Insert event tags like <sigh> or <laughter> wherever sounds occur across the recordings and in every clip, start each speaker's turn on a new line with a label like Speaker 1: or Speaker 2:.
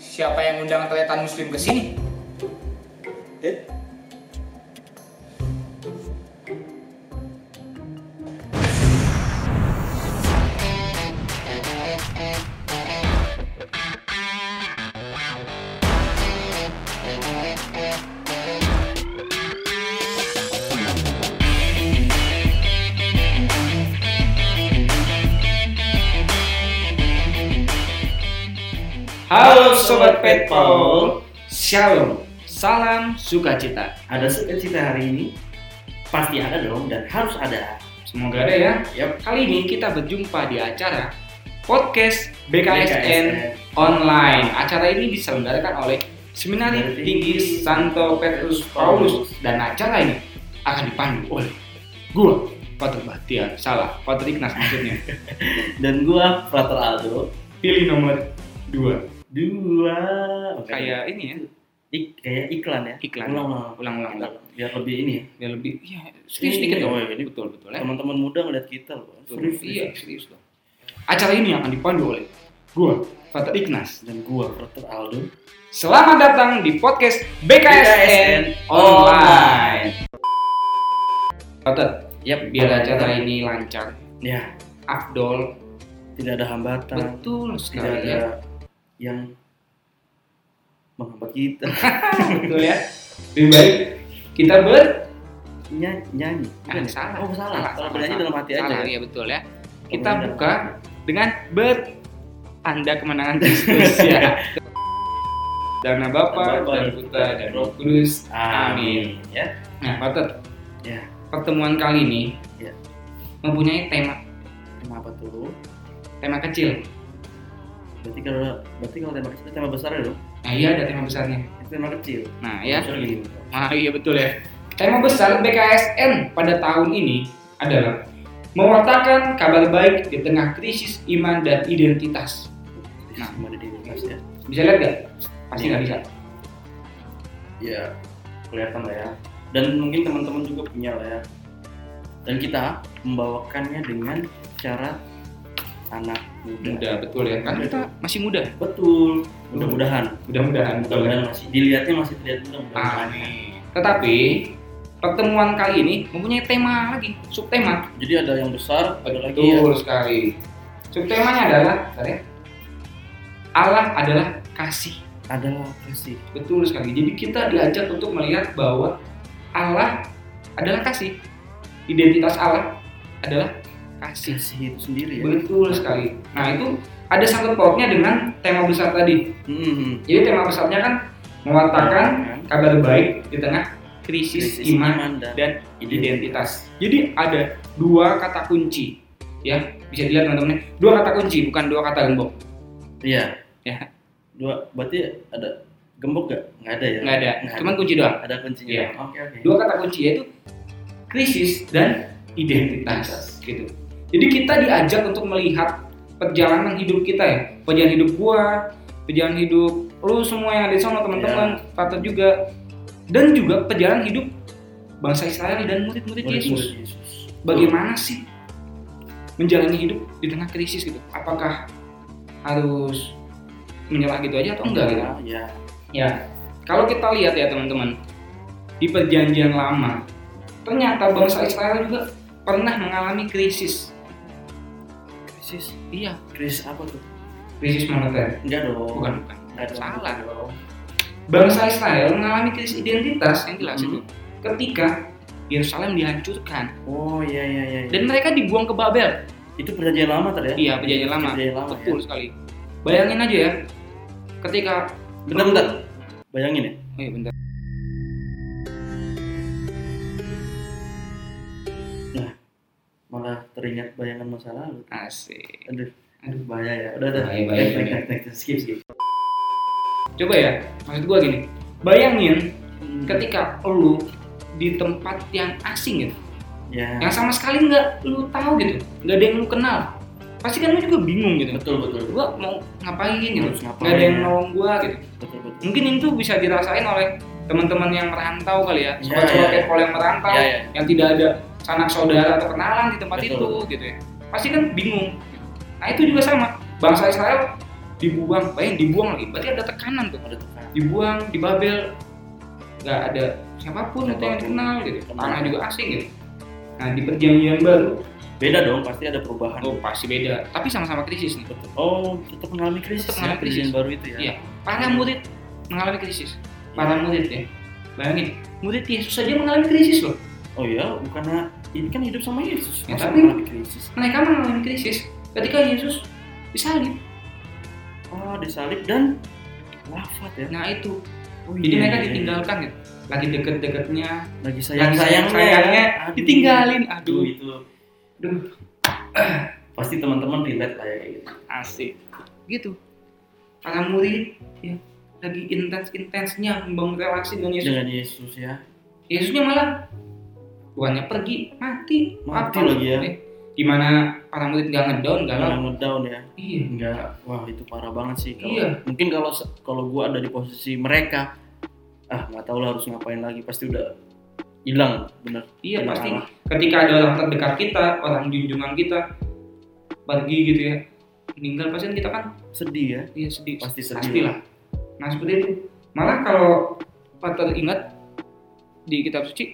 Speaker 1: siapa yang undang Tretan Muslim ke sini?
Speaker 2: Eh?
Speaker 3: Halo Sobat Petpol Shalom Salam sukacita
Speaker 2: Ada sukacita hari ini? Pasti ada dong dan harus ada.
Speaker 3: Semoga ada ya
Speaker 2: Yap.
Speaker 3: Kali ini kita berjumpa di acara Podcast BKSN Online Acara ini diselenggarakan oleh Seminari Tinggi Santo Petrus Paulus Dan acara ini akan dipandu oleh Gua Patrick Bahtiar Salah, Patrick Nas maksudnya
Speaker 2: Dan gua Frater Aldo.
Speaker 3: Pilih nomor 2
Speaker 2: Dua. Oke.
Speaker 3: Kayak ini ya
Speaker 2: Ik- kayak iklan ya.
Speaker 3: Iklan.
Speaker 2: Ulang ulang.
Speaker 3: Ulang-ulang ulang.
Speaker 2: Biar lebih ini ya.
Speaker 3: Ya lebih ya, Serius dikit dong Betul-betul ya
Speaker 2: Teman-teman muda ngeliat kita loh.
Speaker 3: Serius, iya, serius dong. Acara ini akan dipandu oleh gua, Fatur Ignas.
Speaker 2: Dan gua Frater Aldo.
Speaker 3: Selamat datang di podcast BKSN, Online. Fatur,
Speaker 2: Yap.
Speaker 3: biar acara ini lancar,
Speaker 2: Ya.
Speaker 3: Abdul,
Speaker 2: Tidak ada hambatan.
Speaker 3: betul
Speaker 2: Tidak
Speaker 3: sekali
Speaker 2: ada
Speaker 3: ya.
Speaker 2: yang menghambat kita.
Speaker 3: Betul ya. Lebih baik kita ber
Speaker 2: Nyanyi. nyanyi.
Speaker 3: Jangan salah.
Speaker 2: Iya. Oh salah. Salah bernyanyi dalam hati
Speaker 3: Salah,
Speaker 2: aja.
Speaker 3: Iya betul ya. Kita
Speaker 2: Kemudian.
Speaker 3: buka dengan ber Anda kemenangan Kristus
Speaker 2: <laughs>
Speaker 3: ya. Dana Bapa,
Speaker 2: Bapa,
Speaker 3: dan Putra, dan Roh Kudus. Amin.
Speaker 2: Ya.
Speaker 3: Nah, Pater,
Speaker 2: Ya.
Speaker 3: pertemuan kali ini
Speaker 2: Ya.
Speaker 3: mempunyai tema
Speaker 2: Kenapa tuh?
Speaker 3: tema kecil.
Speaker 2: Berarti kalau berarti kalau tema kecil tema besar ya dong.
Speaker 3: Nah, iya ada tema besarnya.
Speaker 2: Itu tema kecil.
Speaker 3: Nah, ya.
Speaker 2: Besar gitu. gini.
Speaker 3: Nah, iya betul ya. Tema besar BKSN pada tahun ini adalah mewartakan kabar baik di tengah krisis iman dan identitas. Nah.
Speaker 2: Cuma ada di Indonesia ya.
Speaker 3: Bisa lihat nggak? Pasti nggak bisa.
Speaker 2: Ya, kelihatan lah ya. Dan mungkin teman-teman juga punya lah ya. Dan kita membawakannya dengan cara anak muda.
Speaker 3: Muda, betul ya. Kan kita masih muda.
Speaker 2: Betul. Mudah-mudahan.
Speaker 3: Mudah-mudahan. ya.
Speaker 2: Mudah-mudahan masih dilihatnya masih terlihat mudah-mudahan.
Speaker 3: Amin. Nah, Tetapi pertemuan kali ini mempunyai tema lagi, subtema.
Speaker 2: Jadi ada yang besar, ada lagi yang
Speaker 3: Betul sekali. Subtemanya adalah, bentar ya. Allah adalah kasih.
Speaker 2: adalah kasih.
Speaker 3: Betul sekali. Jadi kita diajak untuk melihat bahwa Allah adalah kasih. Identitas Allah adalah kasih.
Speaker 2: Kasih itu sendiri ya.
Speaker 3: Betul sekali. Nah itu ada sangkut pautnya dengan tema besar tadi.
Speaker 2: Hmm.
Speaker 3: Jadi tema besarnya kan mewartakan kabar baik di tengah krisis,
Speaker 2: Krisis
Speaker 3: iman
Speaker 2: dan
Speaker 3: dan
Speaker 2: Iya.
Speaker 3: identitas. Jadi ada dua kata kunci, ya bisa dilihat teman-teman. Dua kata kunci, bukan dua kata gembok.
Speaker 2: Iya.
Speaker 3: Ya.
Speaker 2: Dua berarti ada gembok gak? Nggak ada ya?
Speaker 3: Nggak ada, cuman kunci doang.
Speaker 2: ada kuncinya.
Speaker 3: Iya.
Speaker 2: Oke oke.
Speaker 3: Dua kata kunci yaitu krisis dan identitas, gitu. Jadi kita diajak untuk melihat perjalanan hidup kita ya, perjalanan hidup gua, perjalanan hidup lu semua yang ada di sana teman-teman, Fatur juga, dan juga perjalanan hidup bangsa Israel dan murid-murid
Speaker 2: Murid-murid
Speaker 3: Yesus. bagaimana sih menjalani hidup di tengah krisis gitu apakah harus menyerah gitu aja atau enggak gitu
Speaker 2: Ya.
Speaker 3: ya kalau kita lihat ya teman-teman di perjanjian lama ternyata bangsa Israel juga pernah mengalami krisis
Speaker 2: Krisis.
Speaker 3: iya
Speaker 2: Krisis apa tuh?
Speaker 3: krisis moneter
Speaker 2: Enggak dong.
Speaker 3: bukan bukan
Speaker 2: Nggak dong.
Speaker 3: salah
Speaker 2: dong.
Speaker 3: bangsa Israel mengalami krisis identitas yang jelas
Speaker 2: Mhm.
Speaker 3: itu ketika Yerusalem dihancurkan
Speaker 2: Oh iya iya iya.
Speaker 3: dan mereka dibuang ke Babel
Speaker 2: itu perjanjian lama tadi ya?
Speaker 3: Iya, perjanjian lama.
Speaker 2: Perjanjian lama.
Speaker 3: Betul
Speaker 2: Ya.
Speaker 3: sekali. Bayangin aja ya, ketika
Speaker 2: Bentar bentar. Bayangin ya.
Speaker 3: Oh iya bentar.
Speaker 2: Malah teringat bayangan masa lalu.
Speaker 3: Asik.
Speaker 2: Aduh. Aduh bahaya ya. Udah udah.
Speaker 3: Bahaya, bahaya,
Speaker 2: Next, next,
Speaker 3: bahaya.
Speaker 2: next, next, Skip skip.
Speaker 3: Coba ya, maksud gua gini. Bayangin ketika lu di tempat yang asing gitu,
Speaker 2: Ya.
Speaker 3: yang sama sekali nggak lu tahu gitu, nggak ada yang lu kenal. Pasti kan lu juga bingung gitu.
Speaker 2: Betul betul.
Speaker 3: Gua mau ngapain gitu,
Speaker 2: Harus ngapain,
Speaker 3: nggak ada yang
Speaker 2: ya.
Speaker 3: nolong gua gitu.
Speaker 2: Betul betul.
Speaker 3: Mungkin itu bisa dirasain oleh teman-teman yang merantau kali ya,
Speaker 2: Iya,
Speaker 3: sobat-sobat
Speaker 2: iya.
Speaker 3: Kepol yang merantau,
Speaker 2: Iya, iya.
Speaker 3: yang tidak ada sanak saudara atau kenalan di tempat
Speaker 2: Betul.
Speaker 3: itu gitu ya pasti kan bingung nah itu juga sama bangsa Israel dibuang bayangin dibuang lagi berarti ada tekanan tuh
Speaker 2: ada tekanan
Speaker 3: dibuang dibabel nggak ada siapapun atau yang
Speaker 2: Siapapun.
Speaker 3: dikenal gitu tanah
Speaker 2: Kenal.
Speaker 3: juga asing gitu nah di perjanjian baru
Speaker 2: beda dong pasti ada perubahan
Speaker 3: oh pasti beda tapi sama-sama krisis nih
Speaker 2: Betul. oh tetap mengalami krisis
Speaker 3: Tetap
Speaker 2: ya
Speaker 3: mengalami
Speaker 2: krisis
Speaker 3: krisis.
Speaker 2: baru itu ya
Speaker 3: Iya. para murid mengalami krisis para
Speaker 2: Iya.
Speaker 3: murid ya bayangin murid Yesus saja mengalami krisis loh
Speaker 2: oh ya bukannya ini kan hidup sama Yesus
Speaker 3: Ya,
Speaker 2: masa
Speaker 3: tapi-
Speaker 2: mengalami krisis
Speaker 3: mereka mengalami krisis ketika Yesus disalib
Speaker 2: oh disalib dan wafat ya
Speaker 3: nah itu
Speaker 2: oh,
Speaker 3: jadi
Speaker 2: iya,
Speaker 3: mereka
Speaker 2: iya, iya.
Speaker 3: ditinggalkan gitu lagi deket-deketnya
Speaker 2: lagi sayang
Speaker 3: lagi
Speaker 2: sayang
Speaker 3: sayang-sayangnya ditinggalin
Speaker 2: aduh
Speaker 3: aduh
Speaker 2: itu
Speaker 3: aduh
Speaker 2: pasti teman-teman relate lah ya kayak gitu
Speaker 3: asik gitu para murid ya
Speaker 2: Iya.
Speaker 3: lagi intens-intensnya membangun relasi dengan Yesus
Speaker 2: dengan Yesus ya
Speaker 3: Yesusnya malah bukannya pergi mati
Speaker 2: Mati
Speaker 3: Apa?
Speaker 2: lagi ya.
Speaker 3: Eh, gimana para murid nggak ngedown nggak
Speaker 2: nggak ngedown ya
Speaker 3: iya
Speaker 2: Enggak, wah itu parah banget sih. Kalau,
Speaker 3: Iya.
Speaker 2: Mungkin kalau kalau gue ada di posisi mereka, ah nggak tahu lah harus ngapain lagi. Pasti udah hilang, bener.
Speaker 3: iya
Speaker 2: Hilang
Speaker 3: pasti
Speaker 2: arah.
Speaker 3: ketika ada orang terdekat kita orang junjungan kita pergi gitu ya meninggal pasti kan kita kan
Speaker 2: Sedih ya,
Speaker 3: iya sedih
Speaker 2: pasti sedih.
Speaker 3: pastilah nah seperti itu malah kalau patut ingat di kitab suci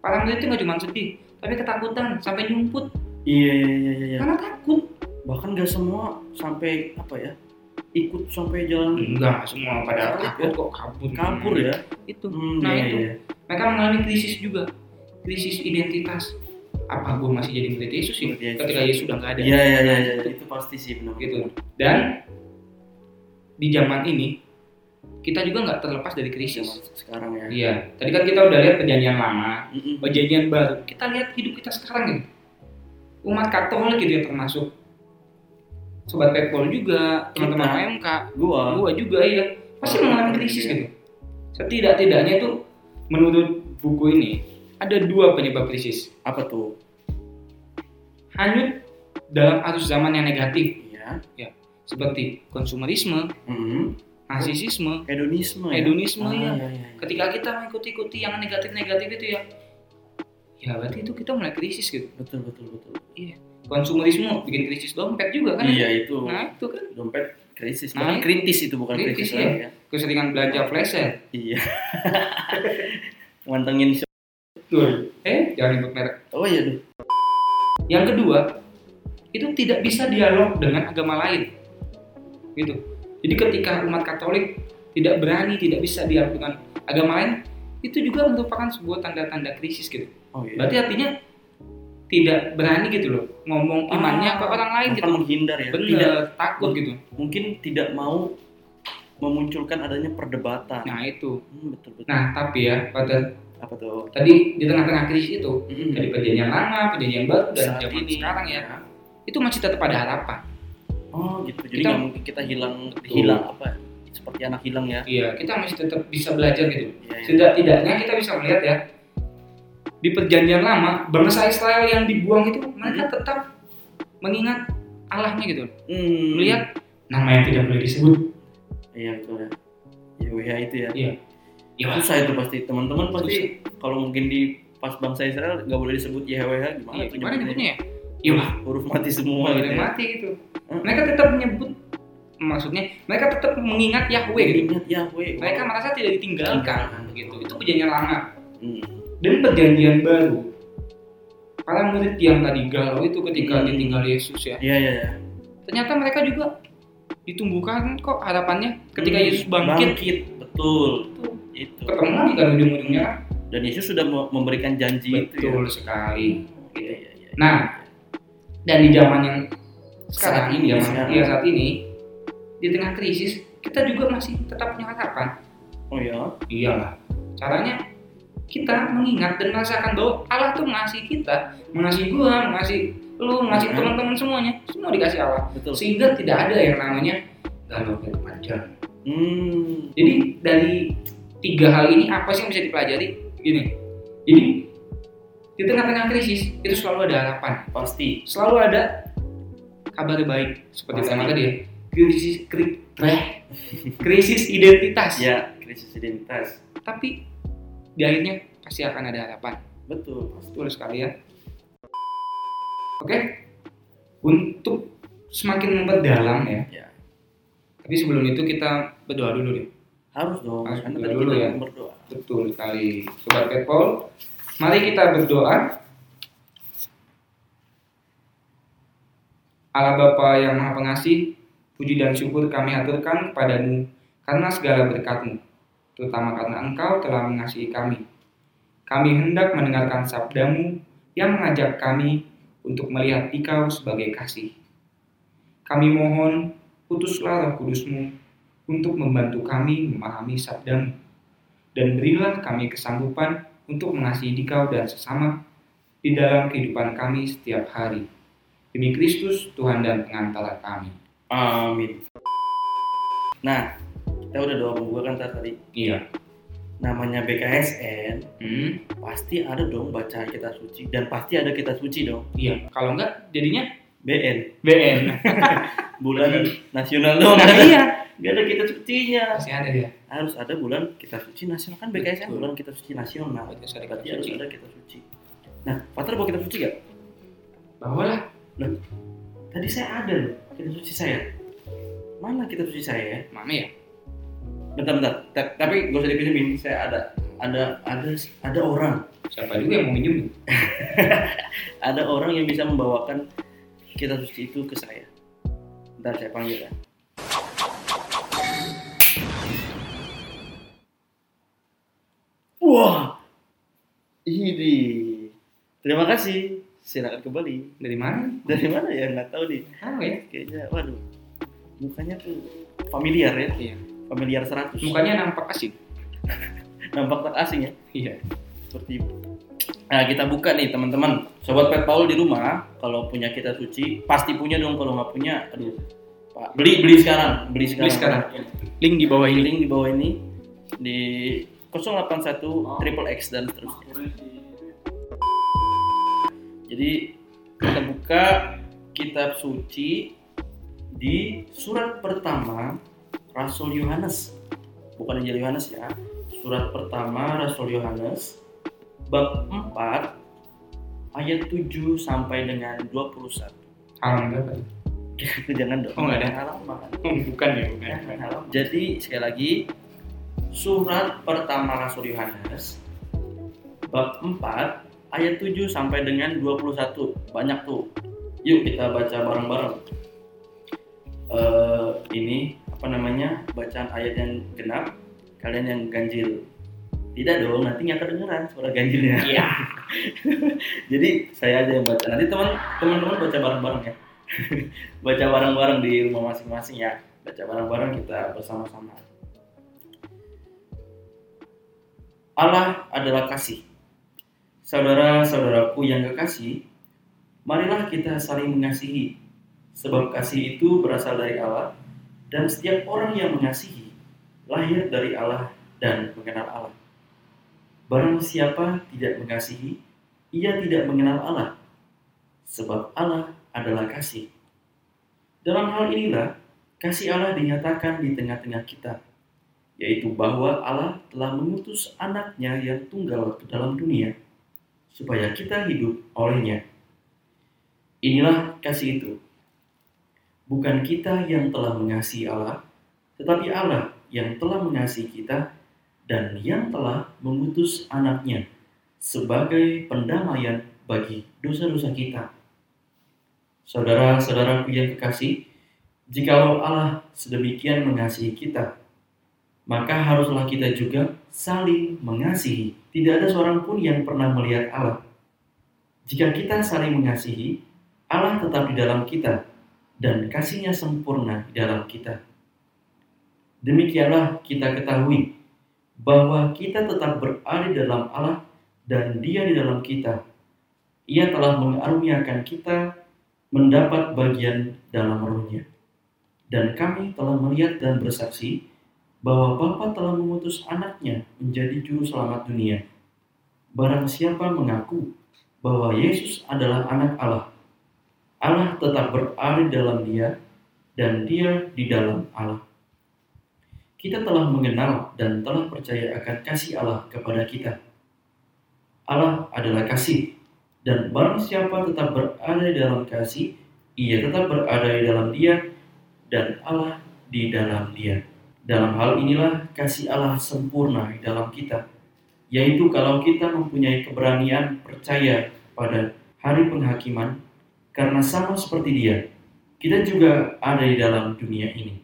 Speaker 3: para murid itu nggak cuma sedih tapi ketakutan sampai nyumput
Speaker 2: Iya, iya, iya, iya, iya.
Speaker 3: karena takut
Speaker 2: Bahkan nggak semua sampai apa ya, ikut sampai jalan
Speaker 3: enggak semua pada
Speaker 2: Takut
Speaker 3: takut kok kabur
Speaker 2: kabur ya.
Speaker 3: itu
Speaker 2: Hmm,
Speaker 3: Hmm. nah
Speaker 2: iya,
Speaker 3: itu
Speaker 2: iya.
Speaker 3: mereka mengalami krisis juga krisis identitas apa gue masih jadi murid Yesus ya
Speaker 2: Murid Yesus.
Speaker 3: ketika Yesus sudah nggak ada
Speaker 2: Iya, iya, iya, iya, itu pasti sih benar.
Speaker 3: gitu dan di zaman ini kita juga nggak terlepas dari krisis
Speaker 2: Zaman sekarang ya.
Speaker 3: iya tadi kan kita udah lihat perjanjian lama
Speaker 2: Mm-mm.
Speaker 3: perjanjian baru kita lihat hidup kita sekarang gitu umat Katolik gitu ya termasuk sobat Paypal juga teman-teman
Speaker 2: Kita. Oh.
Speaker 3: AMK
Speaker 2: Gua
Speaker 3: gua juga iya pasti mengalami
Speaker 2: Iya.
Speaker 3: krisis gitu setidak-tidaknya itu menurut buku ini ada dua penyebab krisis
Speaker 2: apa tuh?
Speaker 3: hanyut dalam arus zaman yang negatif
Speaker 2: Iya.
Speaker 3: seperti konsumerisme,
Speaker 2: Mm.
Speaker 3: narsisisme,
Speaker 2: Hedonisme. ya?
Speaker 3: hedonisme
Speaker 2: Ah,
Speaker 3: ya.
Speaker 2: iya, iya.
Speaker 3: Ketika kita mengikuti-ikuti yang negatif-negatif itu ya, ya berarti itu kita mulai krisis gitu.
Speaker 2: Betul, betul, betul.
Speaker 3: Konsumerisme bikin krisis dompet juga kan?
Speaker 2: Iya itu.
Speaker 3: Nah itu kan
Speaker 2: dompet krisis
Speaker 3: Nah,
Speaker 2: bukan kritis itu bukan
Speaker 3: kritis,
Speaker 2: kritis,
Speaker 3: iya.
Speaker 2: lagi ya
Speaker 3: keseringan belanja flash sale.
Speaker 2: iya <laughs> mantengin si-
Speaker 3: Tuh, eh jangan ikut merek.
Speaker 2: oh iya duh
Speaker 3: Yang kedua, itu tidak bisa dialog dengan agama lain. Gitu. Jadi ketika umat Katolik tidak berani, tidak bisa dialog dengan agama lain, itu juga merupakan sebuah tanda-tanda krisis gitu.
Speaker 2: oh iya
Speaker 3: Berarti artinya tidak berani gitu loh ngomong imannya
Speaker 2: Ah,
Speaker 3: ke orang lain
Speaker 2: Bahkan
Speaker 3: gitu.
Speaker 2: menghindar ya
Speaker 3: Bener,
Speaker 2: tidak
Speaker 3: takut gitu.
Speaker 2: mungkin tidak mau memunculkan adanya perdebatan
Speaker 3: Nah, itu.
Speaker 2: Hmm, betul betul
Speaker 3: Nah, tapi ya pada
Speaker 2: apa tuh
Speaker 3: tadi di tengah-tengah krisis itu
Speaker 2: Mm-mm.
Speaker 3: dari perjanjian lama, perjanjian baru dan
Speaker 2: Saat
Speaker 3: zaman
Speaker 2: ini.
Speaker 3: sekarang ya, itu masih tetap ada harapan.
Speaker 2: oh gitu jadi
Speaker 3: Kita-
Speaker 2: nggak mungkin kita hilang
Speaker 3: Betul.
Speaker 2: hilang apa ya? seperti anak hilang ya
Speaker 3: Iya, kita masih tetap bisa belajar gitu.
Speaker 2: Iya, iya.
Speaker 3: Setidak-tidaknya kita bisa melihat ya di perjanjian lama bangsa Israel yang dibuang itu
Speaker 2: Iya.
Speaker 3: mereka tetap mengingat Allahnya gitu.
Speaker 2: Hmm.
Speaker 3: Melihat nama yang tidak boleh disebut.
Speaker 2: iya betul ya ya ya, itu ya
Speaker 3: Iya. Ya,
Speaker 2: susah itu pasti teman-teman pasti kalau mungkin di pas bangsa Israel nggak boleh disebut YHWH gimana
Speaker 3: Iya,
Speaker 2: tuh
Speaker 3: gimana
Speaker 2: nyebutnya?
Speaker 3: nyebutnya ya? Iya lah,
Speaker 2: huruf mati gitu semua
Speaker 3: ada
Speaker 2: gitu
Speaker 3: yang
Speaker 2: ya.
Speaker 3: mati gitu.
Speaker 2: Hmm.
Speaker 3: Mereka tetap menyebut maksudnya mereka tetap mengingat Yahweh gitu.
Speaker 2: Ingat ya, Oh. Yahweh.
Speaker 3: Mereka merasa tidak ditinggalkan gitu. Itu perjanjian lama
Speaker 2: Hmm.
Speaker 3: dan perjanjian baru. Para murid yang tadi galau itu ketika
Speaker 2: Hmm.
Speaker 3: ditinggal Yesus ya.
Speaker 2: Iya iya iya.
Speaker 3: ternyata mereka juga ditumbuhkan kok harapannya ketika
Speaker 2: Hmm,
Speaker 3: Yesus bangkit
Speaker 2: betul.
Speaker 3: Betul.
Speaker 2: Itu.
Speaker 3: ketemu lagi kan ujung-ujungnya kan?
Speaker 2: Dan Yesus sudah me- memberikan janji itu ya.
Speaker 3: sekali
Speaker 2: Iya iya iya.
Speaker 3: Nah, dan di zaman yang
Speaker 2: Saat
Speaker 3: sekarang
Speaker 2: ini,
Speaker 3: zaman
Speaker 2: sekarang.
Speaker 3: iya, saat ini di tengah krisis kita juga masih tetap punya harapan
Speaker 2: oh ya.
Speaker 3: iyalah caranya kita mengingat dan merasakan bahwa Allah tuh mengasihi kita mengasihi gua mengasihi lu mengasihi
Speaker 2: Hmm.
Speaker 3: teman-teman semuanya semua dikasih Allah
Speaker 2: Betul.
Speaker 3: sehingga tidak ada yang namanya galau dan panjang
Speaker 2: Hmm.
Speaker 3: Jadi dari tiga hal ini apa sih yang bisa dipelajari? Gini, jadi di tengah-tengah krisis itu selalu ada harapan,
Speaker 2: Pasti.
Speaker 3: selalu ada kabar baik seperti
Speaker 2: Pasti.
Speaker 3: tema tadi ya. Krisis kri- bleh. krisis identitas,
Speaker 2: <laughs> Ya, krisis identitas.
Speaker 3: tapi di akhirnya pasti akan ada harapan.
Speaker 2: Betul. Pasti.
Speaker 3: Betul sekali ya. Oke, untuk semakin memperdalam ya
Speaker 2: Ya.
Speaker 3: Tapi sebelum itu kita berdoa dulu deh.
Speaker 2: harus dong
Speaker 3: Harus
Speaker 2: karena
Speaker 3: berdoa
Speaker 2: tadi
Speaker 3: dulu
Speaker 2: kita
Speaker 3: ya.
Speaker 2: berdoa
Speaker 3: Betul sekali. Sobat Catpol, mari kita berdoa. Allah Bapa yang Maha Pengasih, puji dan syukur kami haturkan kepadamu karena segala berkatmu, terutama karena engkau telah mengasihi kami. Kami hendak mendengarkan sabdamu yang mengajak kami untuk melihat engkau sebagai kasih. Kami mohon, putuslah roh kudusmu untuk membantu kami memahami sabdamu dan berilah kami kesanggupan untuk mengasihi dikau dan sesama di dalam kehidupan kami setiap hari. Demi Kristus, Tuhan dan pengantara kami.
Speaker 2: amin nah kita udah doa membuahkan tadi
Speaker 3: Iya.
Speaker 2: namanya BKSN
Speaker 3: Hmm,
Speaker 2: pasti ada dong bacaan kita suci dan pasti ada kita suci dong
Speaker 3: iya. Kalau enggak, jadinya
Speaker 2: BN
Speaker 3: <laughs> BN.
Speaker 2: bulan nasional dong
Speaker 3: Nah,
Speaker 2: nggak ada
Speaker 3: iya.
Speaker 2: nggak ada kita sucinya
Speaker 3: Masih ada ya. dia.
Speaker 2: harus ada bulan kita suci nasional kan BKSN
Speaker 3: Betul.
Speaker 2: bulan kita suci nasional
Speaker 3: Berarti harus ada
Speaker 2: berarti
Speaker 3: kita
Speaker 2: harus
Speaker 3: suci.
Speaker 2: ada kita suci nah Pater mau kita suci gak?
Speaker 3: Bawa lah.
Speaker 2: tadi saya ada loh kita suci saya mana kita suci saya ya?
Speaker 3: Mana ya?
Speaker 2: bentar bentar Ta- tapi gak usah dipinjemin saya ada ada ada ada orang
Speaker 3: Siapa juga yang mau minjem?
Speaker 2: ada orang yang bisa membawakan kita suci itu ke saya ntar saya panggil ya wah ini terima kasih silakan kembali
Speaker 3: Dari mana?
Speaker 2: dari mana ya nggak tahu nih
Speaker 3: Tahu ya?
Speaker 2: kayaknya waduh mukanya tuh familiar ya
Speaker 3: Iya.
Speaker 2: familiar 100
Speaker 3: Mukanya nampak asing.
Speaker 2: nampak tak asing ya
Speaker 3: Iya.
Speaker 2: seperti nah kita buka nih teman-teman sobat pet Paul di rumah kalau punya kita suci pasti punya dong kalau nggak punya aduh pak beli beli sekarang beli sekarang,
Speaker 3: Beli sekarang. Link di bawah
Speaker 2: link di bawah ini di
Speaker 3: Oh.
Speaker 2: 081 triple X dan seterusnya jadi kita buka kitab suci di surat pertama Rasul Yohanes. Bukan Injil Yohanes ya. Surat pertama Rasul Yohanes bab 4 ayat 7 sampai dengan 21.
Speaker 3: Halaman berapa?
Speaker 2: <laughs> Jangan dong.
Speaker 3: Oh, nggak ada.
Speaker 2: halaman.
Speaker 3: Bukan ya, bukan.
Speaker 2: Jadi sekali lagi surat pertama Rasul Yohanes bab 4 ayat 7 sampai dengan 21. Banyak tuh. Yuk kita baca bareng-bareng. Eh, ini apa namanya? Bacaan ayat yang genap, kalian yang ganjil. Tidak dong, nanti nggak kedengeran suara ganjilnya.
Speaker 3: Iya.
Speaker 2: Jadi saya aja yang baca. Nanti teman teman-teman baca bareng-bareng ya. <laughs> baca bareng-bareng di rumah masing-masing ya. Baca bareng-bareng kita bersama-sama. Allah adalah kasih. Saudara-saudaraku yang kekasih, marilah kita saling mengasihi. Sebab kasih itu berasal dari Allah dan setiap orang yang mengasihi lahir dari Allah dan mengenal Allah. Barang siapa tidak mengasihi, ia tidak mengenal Allah, sebab Allah adalah kasih. Dalam hal inilah, kasih Allah dinyatakan di tengah-tengah kita, yaitu bahwa Allah telah mengutus anaknya yang tunggal ke dalam dunia, supaya kita hidup olehnya. Inilah kasih itu. Bukan kita yang telah mengasihi Allah, tetapi Allah yang telah mengasihi kita dan yang telah mengutus anaknya sebagai pendamaian bagi dosa-dosa kita. Saudara-saudaraku yang kekasih, jikalau Allah sedemikian mengasihi kita, maka haruslah kita juga saling mengasihi. Tidak ada seorang pun yang pernah melihat Allah. Jika kita saling mengasihi, Allah tetap di dalam kita dan kasihnya sempurna di dalam kita. Demikianlah kita ketahui bahwa kita tetap berada dalam Allah dan Dia di dalam kita. Ia telah mengaruniakan kita mendapat bagian dalam rohnya. Dan kami telah melihat dan bersaksi bahwa Bapa telah mengutus anaknya menjadi juru selamat dunia. Barang siapa mengaku bahwa Yesus adalah anak Allah, Allah tetap berada dalam dia dan dia di dalam Allah. Kita telah mengenal dan telah percaya akan kasih Allah kepada kita. Allah adalah kasih, dan barang siapa tetap berada di dalam kasih, ia tetap berada di dalam dia, dan Allah di dalam dia. Dalam hal inilah kasih Allah sempurna di dalam kita, yaitu kalau kita mempunyai keberanian percaya pada hari penghakiman, karena sama seperti dia, kita juga ada di dalam dunia ini.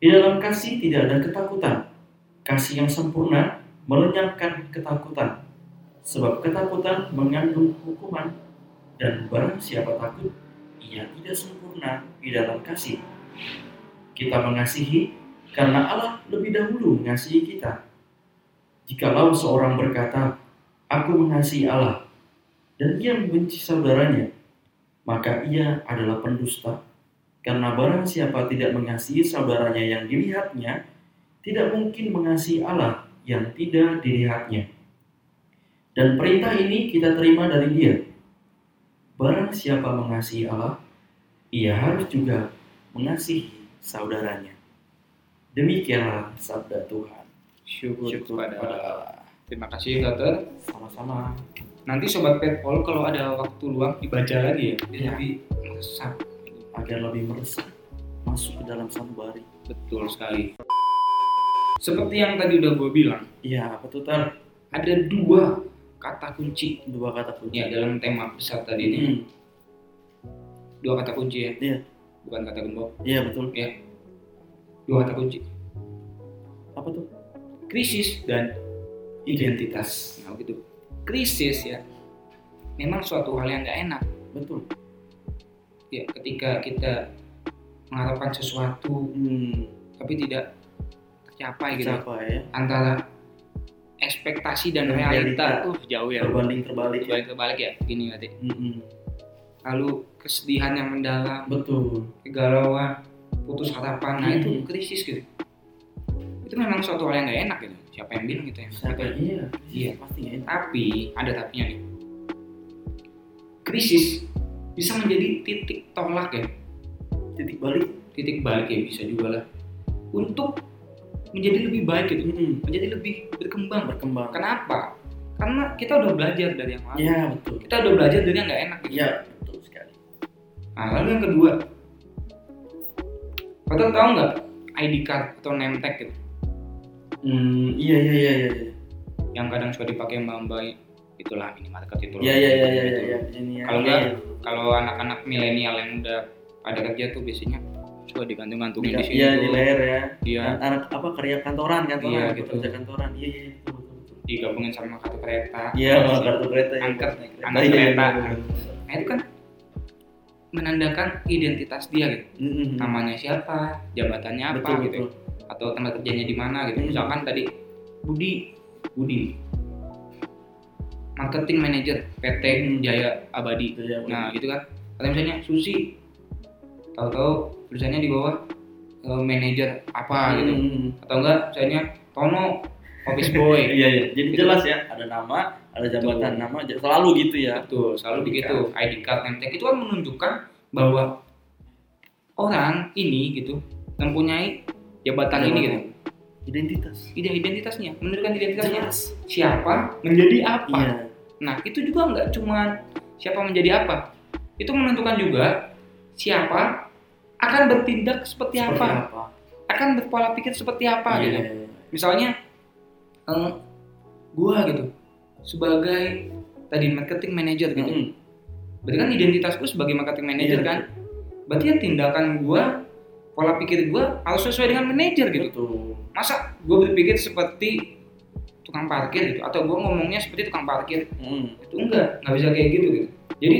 Speaker 2: Di dalam kasih tidak ada ketakutan. Kasih yang sempurna melenyapkan ketakutan. Sebab ketakutan mengandung hukuman dan barang siapa takut, ia tidak sempurna di dalam kasih. Kita mengasihi karena Allah lebih dahulu mengasihi kita. Jikalau seorang berkata, Aku mengasihi Allah, dan ia membenci saudaranya, maka ia adalah pendusta. Karena barang siapa tidak mengasihi saudaranya yang dilihatnya, tidak mungkin mengasihi Allah yang tidak dilihatnya. Dan perintah ini kita terima dari dia. Barang siapa mengasihi Allah, ia harus juga mengasihi saudaranya. Demikianlah sabda Tuhan.
Speaker 3: Syukur,
Speaker 2: Syukur
Speaker 3: kepada
Speaker 2: kepada
Speaker 3: Allah.
Speaker 2: Allah.
Speaker 3: Terima kasih dokter.
Speaker 2: Sama-sama.
Speaker 3: Nanti sobat petpol kalau ada waktu luang dibaca lagi ya. Jadi
Speaker 2: Iya.
Speaker 3: lebih meresap.
Speaker 2: Agar lebih meresap masuk ke dalam sanubari.
Speaker 3: Betul sekali. Seperti yang tadi udah gue bilang,
Speaker 2: Iya, apa tuh tar?
Speaker 3: ada dua kata kunci
Speaker 2: Dua kata kunci.
Speaker 3: ya dalam tema besar tadi ini.
Speaker 2: Hmm,
Speaker 3: Dua kata kunci ya.
Speaker 2: Iya.
Speaker 3: Bukan kata gembok.
Speaker 2: Iya betul.
Speaker 3: Dua kata kunci.
Speaker 2: Apa tuh?
Speaker 3: Krisis dan identitas. Nah gitu. Krisis ya. Memang suatu hal yang nggak enak.
Speaker 2: Betul.
Speaker 3: Ya ketika kita mengharapkan sesuatu
Speaker 2: Hmm,
Speaker 3: tapi tidak tercapai gitu.
Speaker 2: siapa ya?
Speaker 3: antara ekspektasi dan
Speaker 2: Dan
Speaker 3: realita
Speaker 2: realita.
Speaker 3: tuh jauh ya
Speaker 2: Berbanding terbalik Hmm, ya.
Speaker 3: balik kebalik ya gini berarti
Speaker 2: Mm-mm.
Speaker 3: lalu kesedihan yang mendalam
Speaker 2: Betul.
Speaker 3: kegalauan putus harapan nah itu
Speaker 2: Hmm.
Speaker 3: krisis gitu itu memang suatu hal yang gak enak gitu siapa yang bilang gitu ya
Speaker 2: Siapa iya?
Speaker 3: Iya.
Speaker 2: Pasti nggak enak.
Speaker 3: tapi ada tapinya nih krisis bisa menjadi titik tolak ya
Speaker 2: Titik balik.
Speaker 3: titik balik ya bisa juga lah untuk menjadi lebih baik gitu
Speaker 2: Mm-mm.
Speaker 3: menjadi lebih berkembang
Speaker 2: Hmm. Berkembang.
Speaker 3: kenapa karena kita udah belajar dari yang lalu
Speaker 2: Iya betul.
Speaker 3: kita udah belajar dari yang nggak enak gitu.
Speaker 2: Iya betul sekali.
Speaker 3: Nah, lalu yang kedua, kalian tahu nggak ID card atau name tag gitu,
Speaker 2: Hmm, iya iya iya iya. iya.
Speaker 3: yang kadang suka dipakai mbak-mbak itulah minimarket itu.
Speaker 2: Iya iya iya iya iya. Ini ya.
Speaker 3: Kalau
Speaker 2: Iya,
Speaker 3: nggak, Kalau anak-anak milenial yang udah pada kerja tuh biasanya suka digantung-gantungin
Speaker 2: iya.
Speaker 3: di situ. Iya,
Speaker 2: Iya di leher ya.
Speaker 3: Dia
Speaker 2: Anak- Anak apa kerja kantoran kantoran.
Speaker 3: Iya,
Speaker 2: gitu.
Speaker 3: gitu.
Speaker 2: Kerja kantoran. Iya iya betul betul. betul.
Speaker 3: digabungin sama kartu kereta.
Speaker 2: Iya
Speaker 3: Terus
Speaker 2: sama kartu kereta. ya.
Speaker 3: Angkat,
Speaker 2: Naik
Speaker 3: angkat
Speaker 2: Iya, iya,
Speaker 3: kereta.
Speaker 2: iya,
Speaker 3: Nah, itu kan menandakan identitas dia gitu.
Speaker 2: iya. Mm-mm.
Speaker 3: Namanya siapa, jabatannya apa
Speaker 2: Betul,
Speaker 3: gitu.
Speaker 2: betul.
Speaker 3: atau tempat kerjanya di mana gitu.
Speaker 2: Hmm.
Speaker 3: Misalkan tadi Budi, Budi marketing manager PT Jaya Abadi.
Speaker 2: Itu ya,
Speaker 3: Nah, gitu kan. Atau misalnya Susi tahu-tahu tulisannya di bawah eh, manager
Speaker 2: Hmm.
Speaker 3: apa gitu.
Speaker 2: Mm-mm.
Speaker 3: Atau enggak misalnya Tono office
Speaker 2: <laughs>
Speaker 3: boy.
Speaker 2: Iya iya. Jadi
Speaker 3: Gitu.
Speaker 2: jelas ya. Ada nama, ada jabatan
Speaker 3: Betul.
Speaker 2: nama. j- Selalu gitu ya.
Speaker 3: Betul, selalu begitu. ID card name tag itu kan menunjukkan bahwa orang ini gitu mempunyai jabatan ini gitu.
Speaker 2: Identitas.
Speaker 3: Ide- Identitasnya, menunjukkan identitasnya
Speaker 2: Jelas.
Speaker 3: siapa menjadi apa.
Speaker 2: Iya.
Speaker 3: Nah, itu juga nggak cuma siapa menjadi apa. Itu menentukan juga siapa akan bertindak seperti,
Speaker 2: Seperti
Speaker 3: apa, akan berpola pikir seperti apa
Speaker 2: Iya,
Speaker 3: gitu.
Speaker 2: iya, iya.
Speaker 3: Misalnya eh, gua gitu sebagai tadi marketing manager gitu.
Speaker 2: Mm-mm.
Speaker 3: Berarti kan identitas gua sebagai marketing manager
Speaker 2: Hmm, Iya,
Speaker 3: kan. Berarti ya tindakan gua, pola pikir gua harus sesuai dengan manajer gitu.
Speaker 2: Betul.
Speaker 3: Masa gua berpikir seperti tukang parkir gitu atau gua ngomongnya seperti tukang parkir
Speaker 2: Mm.
Speaker 3: itu enggak nggak bisa kayak gitu gitu jadi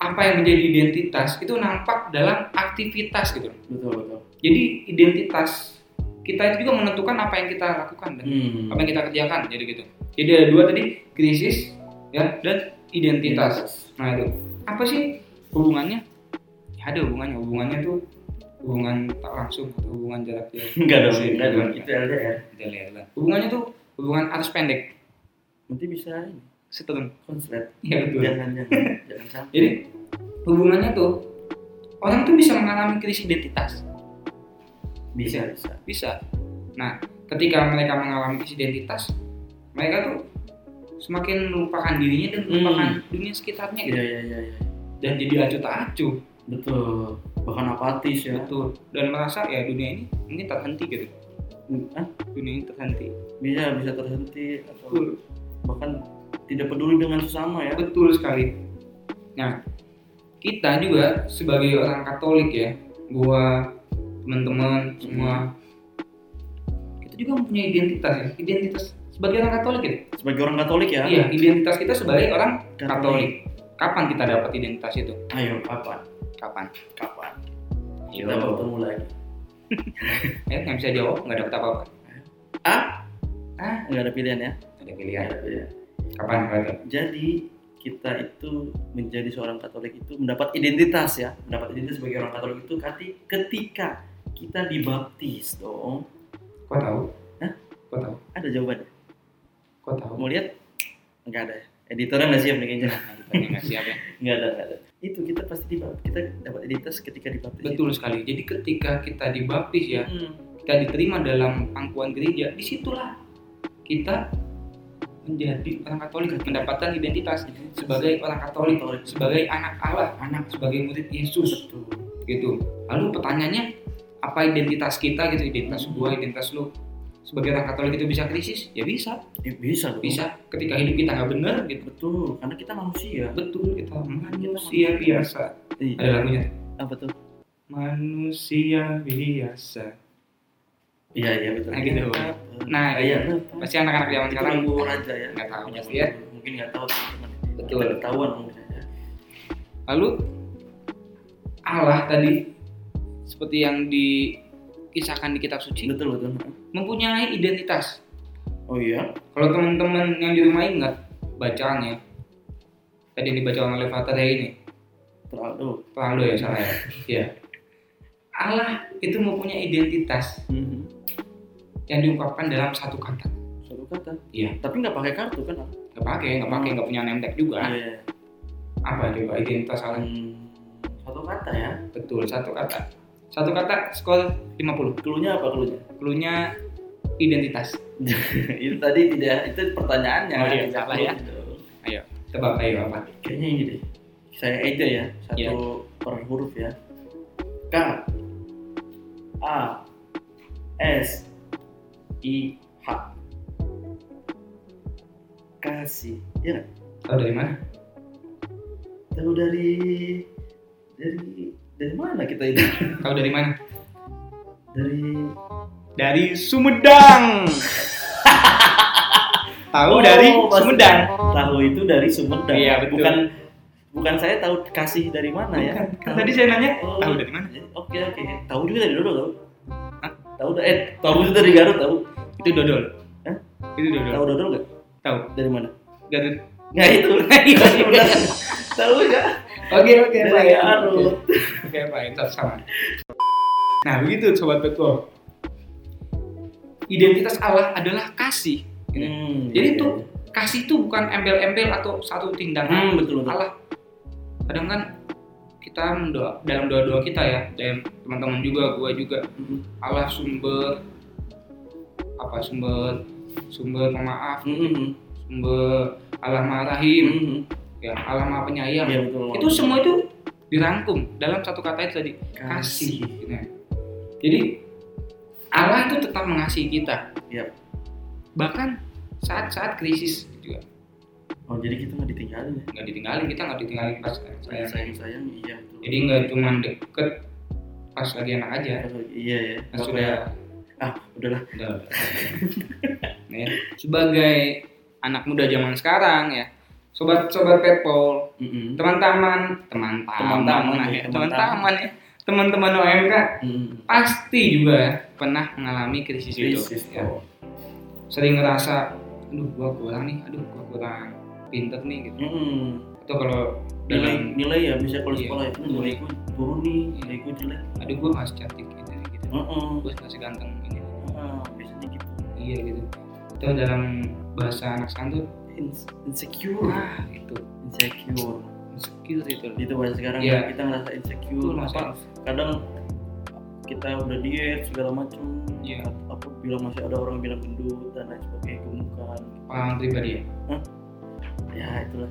Speaker 3: apa yang menjadi identitas itu nampak dalam aktivitas gitu
Speaker 2: Betul betul.
Speaker 3: jadi identitas kita itu juga menentukan apa yang kita lakukan dan
Speaker 2: Hmm.
Speaker 3: apa yang kita kerjakan jadi gitu jadi ada dua tadi krisis ya dan
Speaker 2: Iya.
Speaker 3: identitas nah itu apa sih hubungannya ya, ada hubungannya hubungannya tuh hubungan tak langsung atau hubungan jarak jauh
Speaker 2: <laughs> Enggak dong, enggak dong. Itu LDR.
Speaker 3: kita lihat lah. hubungannya tuh hubungan arus pendek
Speaker 2: Nanti bisa ini,
Speaker 3: setengah
Speaker 2: konslet.
Speaker 3: ya betul
Speaker 2: Jangan jangan jangan sampai.
Speaker 3: Jadi hubungannya tuh orang tuh bisa mengalami krisis identitas,
Speaker 2: Bisa bisa.
Speaker 3: bisa. Nah, ketika mereka mengalami krisis identitas, mereka tuh semakin melupakan dirinya dan melupakan dunia sekitarnya gitu.
Speaker 2: Iya iya iya. iya.
Speaker 3: dan jadi acuh tak acuh.
Speaker 2: betul bahkan apatis ya
Speaker 3: betul dan merasa ya dunia ini mungkin terhenti gitu
Speaker 2: Hah?
Speaker 3: dunia ini terhenti
Speaker 2: bisa bisa terhenti atau
Speaker 3: betul
Speaker 2: bahkan tidak peduli dengan sesama ya
Speaker 3: betul sekali nah kita juga sebagai orang Katolik ya gua teman-teman semua kita juga mempunyai identitas ya identitas sebagai orang Katolik ya
Speaker 2: sebagai orang Katolik ya
Speaker 3: iya identitas kita sebagai orang Katolik kapan kita dapat identitas itu
Speaker 2: ayo kapan
Speaker 3: kapan
Speaker 2: kapan kita
Speaker 3: Yo.
Speaker 2: bertemu lagi
Speaker 3: eh nggak bisa jawab nggak dapat apa-apa
Speaker 2: ah
Speaker 3: ah
Speaker 2: nggak ada pilihan ya
Speaker 3: ada pilihan
Speaker 2: ada pilihan
Speaker 3: kapan berarti
Speaker 2: jadi kita itu menjadi seorang Katolik itu mendapat identitas ya mendapat identitas sebagai orang Katolik itu kati- ketika kita dibaptis dong
Speaker 3: kau tahu
Speaker 2: Hah?
Speaker 3: kau tahu
Speaker 2: ada jawabannya
Speaker 3: kau tahu
Speaker 2: mau lihat nggak ada ya? editornya nggak siap nih kayaknya <laughs>
Speaker 3: Tanya nggak siap ya
Speaker 2: nggak ada nggak ada itu kita pasti dibaptis kita dapat identitas ketika dibaptis
Speaker 3: betul sekali jadi ketika kita dibaptis ya
Speaker 2: Hmm,
Speaker 3: kita diterima dalam pangkuan gereja, disitulah kita menjadi orang Katolik, mendapatkan identitas sebagai orang Katolik,
Speaker 2: Katolik.
Speaker 3: sebagai anak Allah, anak sebagai murid Yesus
Speaker 2: betul
Speaker 3: gitu. Lalu pertanyaannya apa identitas kita gitu, identitas gua, identitas lu sebagai orang Katolik itu bisa krisis? Ya bisa,
Speaker 2: Eh, bisa dong.
Speaker 3: bisa. Ketika hidup kita nggak bener gitu,
Speaker 2: betul karena kita manusia
Speaker 3: betul kita manusia biasa.
Speaker 2: Iya.
Speaker 3: Ada lagunya
Speaker 2: apa tuh
Speaker 3: manusia biasa.
Speaker 2: iya iya betul
Speaker 3: Nah, gitu. Nah,
Speaker 2: iya
Speaker 3: Pasti anak-anak zaman
Speaker 2: Itu
Speaker 3: sekarang
Speaker 2: lagu raja ya
Speaker 3: nggak tahu pasti ya.
Speaker 2: ya mungkin nggak tahu teman-teman
Speaker 3: Betul. Iya.
Speaker 2: Nggak ketahuan mungkin ya
Speaker 3: Lalu Allah tadi seperti yang dikisahkan di kitab suci
Speaker 2: betul betul
Speaker 3: mempunyai identitas.
Speaker 2: oh iya
Speaker 3: Kalau teman-teman yang di rumah ingat bacaannya ya, tadi yang dibaca oleh Fatah hari ini
Speaker 2: terlalu
Speaker 3: terlalu ya salah ya. Iya. Allah itu mempunyai identitas
Speaker 2: Mhm.
Speaker 3: yang diungkapkan dalam satu kata.
Speaker 2: satu kata
Speaker 3: Iya.
Speaker 2: kan, tapi nggak pakai kartu kan
Speaker 3: Gak pakai, gak pakai, gak punya name tag juga.
Speaker 2: iya
Speaker 3: Apa coba identitas Allah?
Speaker 2: Hmm, satu kata ya
Speaker 3: Betul, satu kata. Satu kata skor 50.
Speaker 2: keluhnya apa keluhnya
Speaker 3: Klunya identitas.
Speaker 2: <laughs> itu tadi tidak itu pertanyaannya
Speaker 3: Oh, iya,
Speaker 2: Tidak
Speaker 3: salah
Speaker 2: clue
Speaker 3: ya.
Speaker 2: itu.
Speaker 3: Tebak ayo apa?
Speaker 2: kayaknya ini deh saya aja ya satu
Speaker 3: Iya.
Speaker 2: per huruf ya K A S I H kasih ya nggak?
Speaker 3: Tahu dari mana?
Speaker 2: tahu dari dari dari mana kita itu
Speaker 3: Tahu dari mana?
Speaker 2: dari
Speaker 3: Dari Sumedang.
Speaker 2: <laughs>
Speaker 3: Tahu dari
Speaker 2: Oh, pasti.
Speaker 3: Sumedang.
Speaker 2: tahu itu dari Sumedang
Speaker 3: Iya, betul.
Speaker 2: bukan bukan saya tahu kasih dari mana ya
Speaker 3: Bukan. Kan
Speaker 2: Tahu-
Speaker 3: tadi saya nanya,
Speaker 2: Oh.
Speaker 3: tahu dari mana?
Speaker 2: Oke oke. Tahu juga dari Dodo tahu.
Speaker 3: Hah?
Speaker 2: Tahu da- eh tahu juga dari Garut tahu.
Speaker 3: Itu dodol.
Speaker 2: Hah?
Speaker 3: Itu dodol.
Speaker 2: Tahu Dodo nggak?
Speaker 3: Iya. Tahu.
Speaker 2: Dari mana?
Speaker 3: Garut.
Speaker 2: Nah itu. <laughs> tahu nggak?
Speaker 3: Oke, oke,
Speaker 2: Dari
Speaker 3: baik.
Speaker 2: Garut.
Speaker 3: Oke, baik. Tetap sama. Nah, begitu sobat betul. Identitas Allah adalah kasih. Ini.
Speaker 2: Hmm,
Speaker 3: Jadi
Speaker 2: iya,
Speaker 3: itu
Speaker 2: iya.
Speaker 3: kasih itu bukan embel-embel atau satu tindakan.
Speaker 2: Hmm betul betul.
Speaker 3: Allah kadang kan kita mendoa dalam doa-doa kita ya dan teman-teman juga gua juga
Speaker 2: Mm,
Speaker 3: Allah sumber apa sumber sumber pemaaf
Speaker 2: mm, mm,
Speaker 3: sumber Allah maha
Speaker 2: mm,
Speaker 3: rahim
Speaker 2: mm.
Speaker 3: ya Allah maha penyayang
Speaker 2: Iya betul.
Speaker 3: itu semua itu dirangkum dalam satu kata itu tadi kasih gitu ya. jadi Allah itu tetap mengasihi kita
Speaker 2: Yap.
Speaker 3: bahkan saat-saat krisis juga
Speaker 2: Oh jadi kita nggak ditinggalin ya?
Speaker 3: nggak ditinggalin kita nggak ditinggalin pas
Speaker 2: Sayang sayang sayang iya betul.
Speaker 3: jadi nggak cuma deket pas lagi enak aja
Speaker 2: Iya ya.
Speaker 3: pas sudah
Speaker 2: Ah udahlah.
Speaker 3: udah Nih, sebagai anak muda zaman sekarang ya sobat-sobat petpol
Speaker 2: Mm, mm.
Speaker 3: teman-teman teman-teman
Speaker 2: Teman-teman,
Speaker 3: nah,
Speaker 2: iya,
Speaker 3: ya,
Speaker 2: teman-teman.
Speaker 3: teman-teman ya teman-teman OMK
Speaker 2: Mm, mm.
Speaker 3: pasti juga pernah mengalami krisis,
Speaker 2: Krisis,
Speaker 3: itu ya.
Speaker 2: oh.
Speaker 3: sering ngerasa aduh gua kurang nih aduh gua kurang pinter nih gitu
Speaker 2: Mm, mm.
Speaker 3: atau kalau
Speaker 2: Nilai
Speaker 3: dalam
Speaker 2: nilai ya bisa kalau
Speaker 3: Iya.
Speaker 2: sekolah itu nilai gue turun nih nilai gue jelek.
Speaker 3: aduh gua nggak secantik gitu gitu
Speaker 2: Mm, mm.
Speaker 3: gua nggak seganteng ini
Speaker 2: Ah, biasanya gitu
Speaker 3: iya gitu atau dalam bahasa anak sekarang tuh
Speaker 2: Ins- insecure
Speaker 3: wah itu
Speaker 2: insecure
Speaker 3: insecure itu
Speaker 2: itu bahasa sekarang
Speaker 3: Iya.
Speaker 2: kita ngerasa
Speaker 3: itu
Speaker 2: insecure apa
Speaker 3: masa
Speaker 2: kadang kita udah diet segala macam
Speaker 3: Iya.
Speaker 2: apa bilang masih ada orang bilang gendut dan lain sebagainya gemukan
Speaker 3: pengalaman pribadi ya
Speaker 2: ya itulah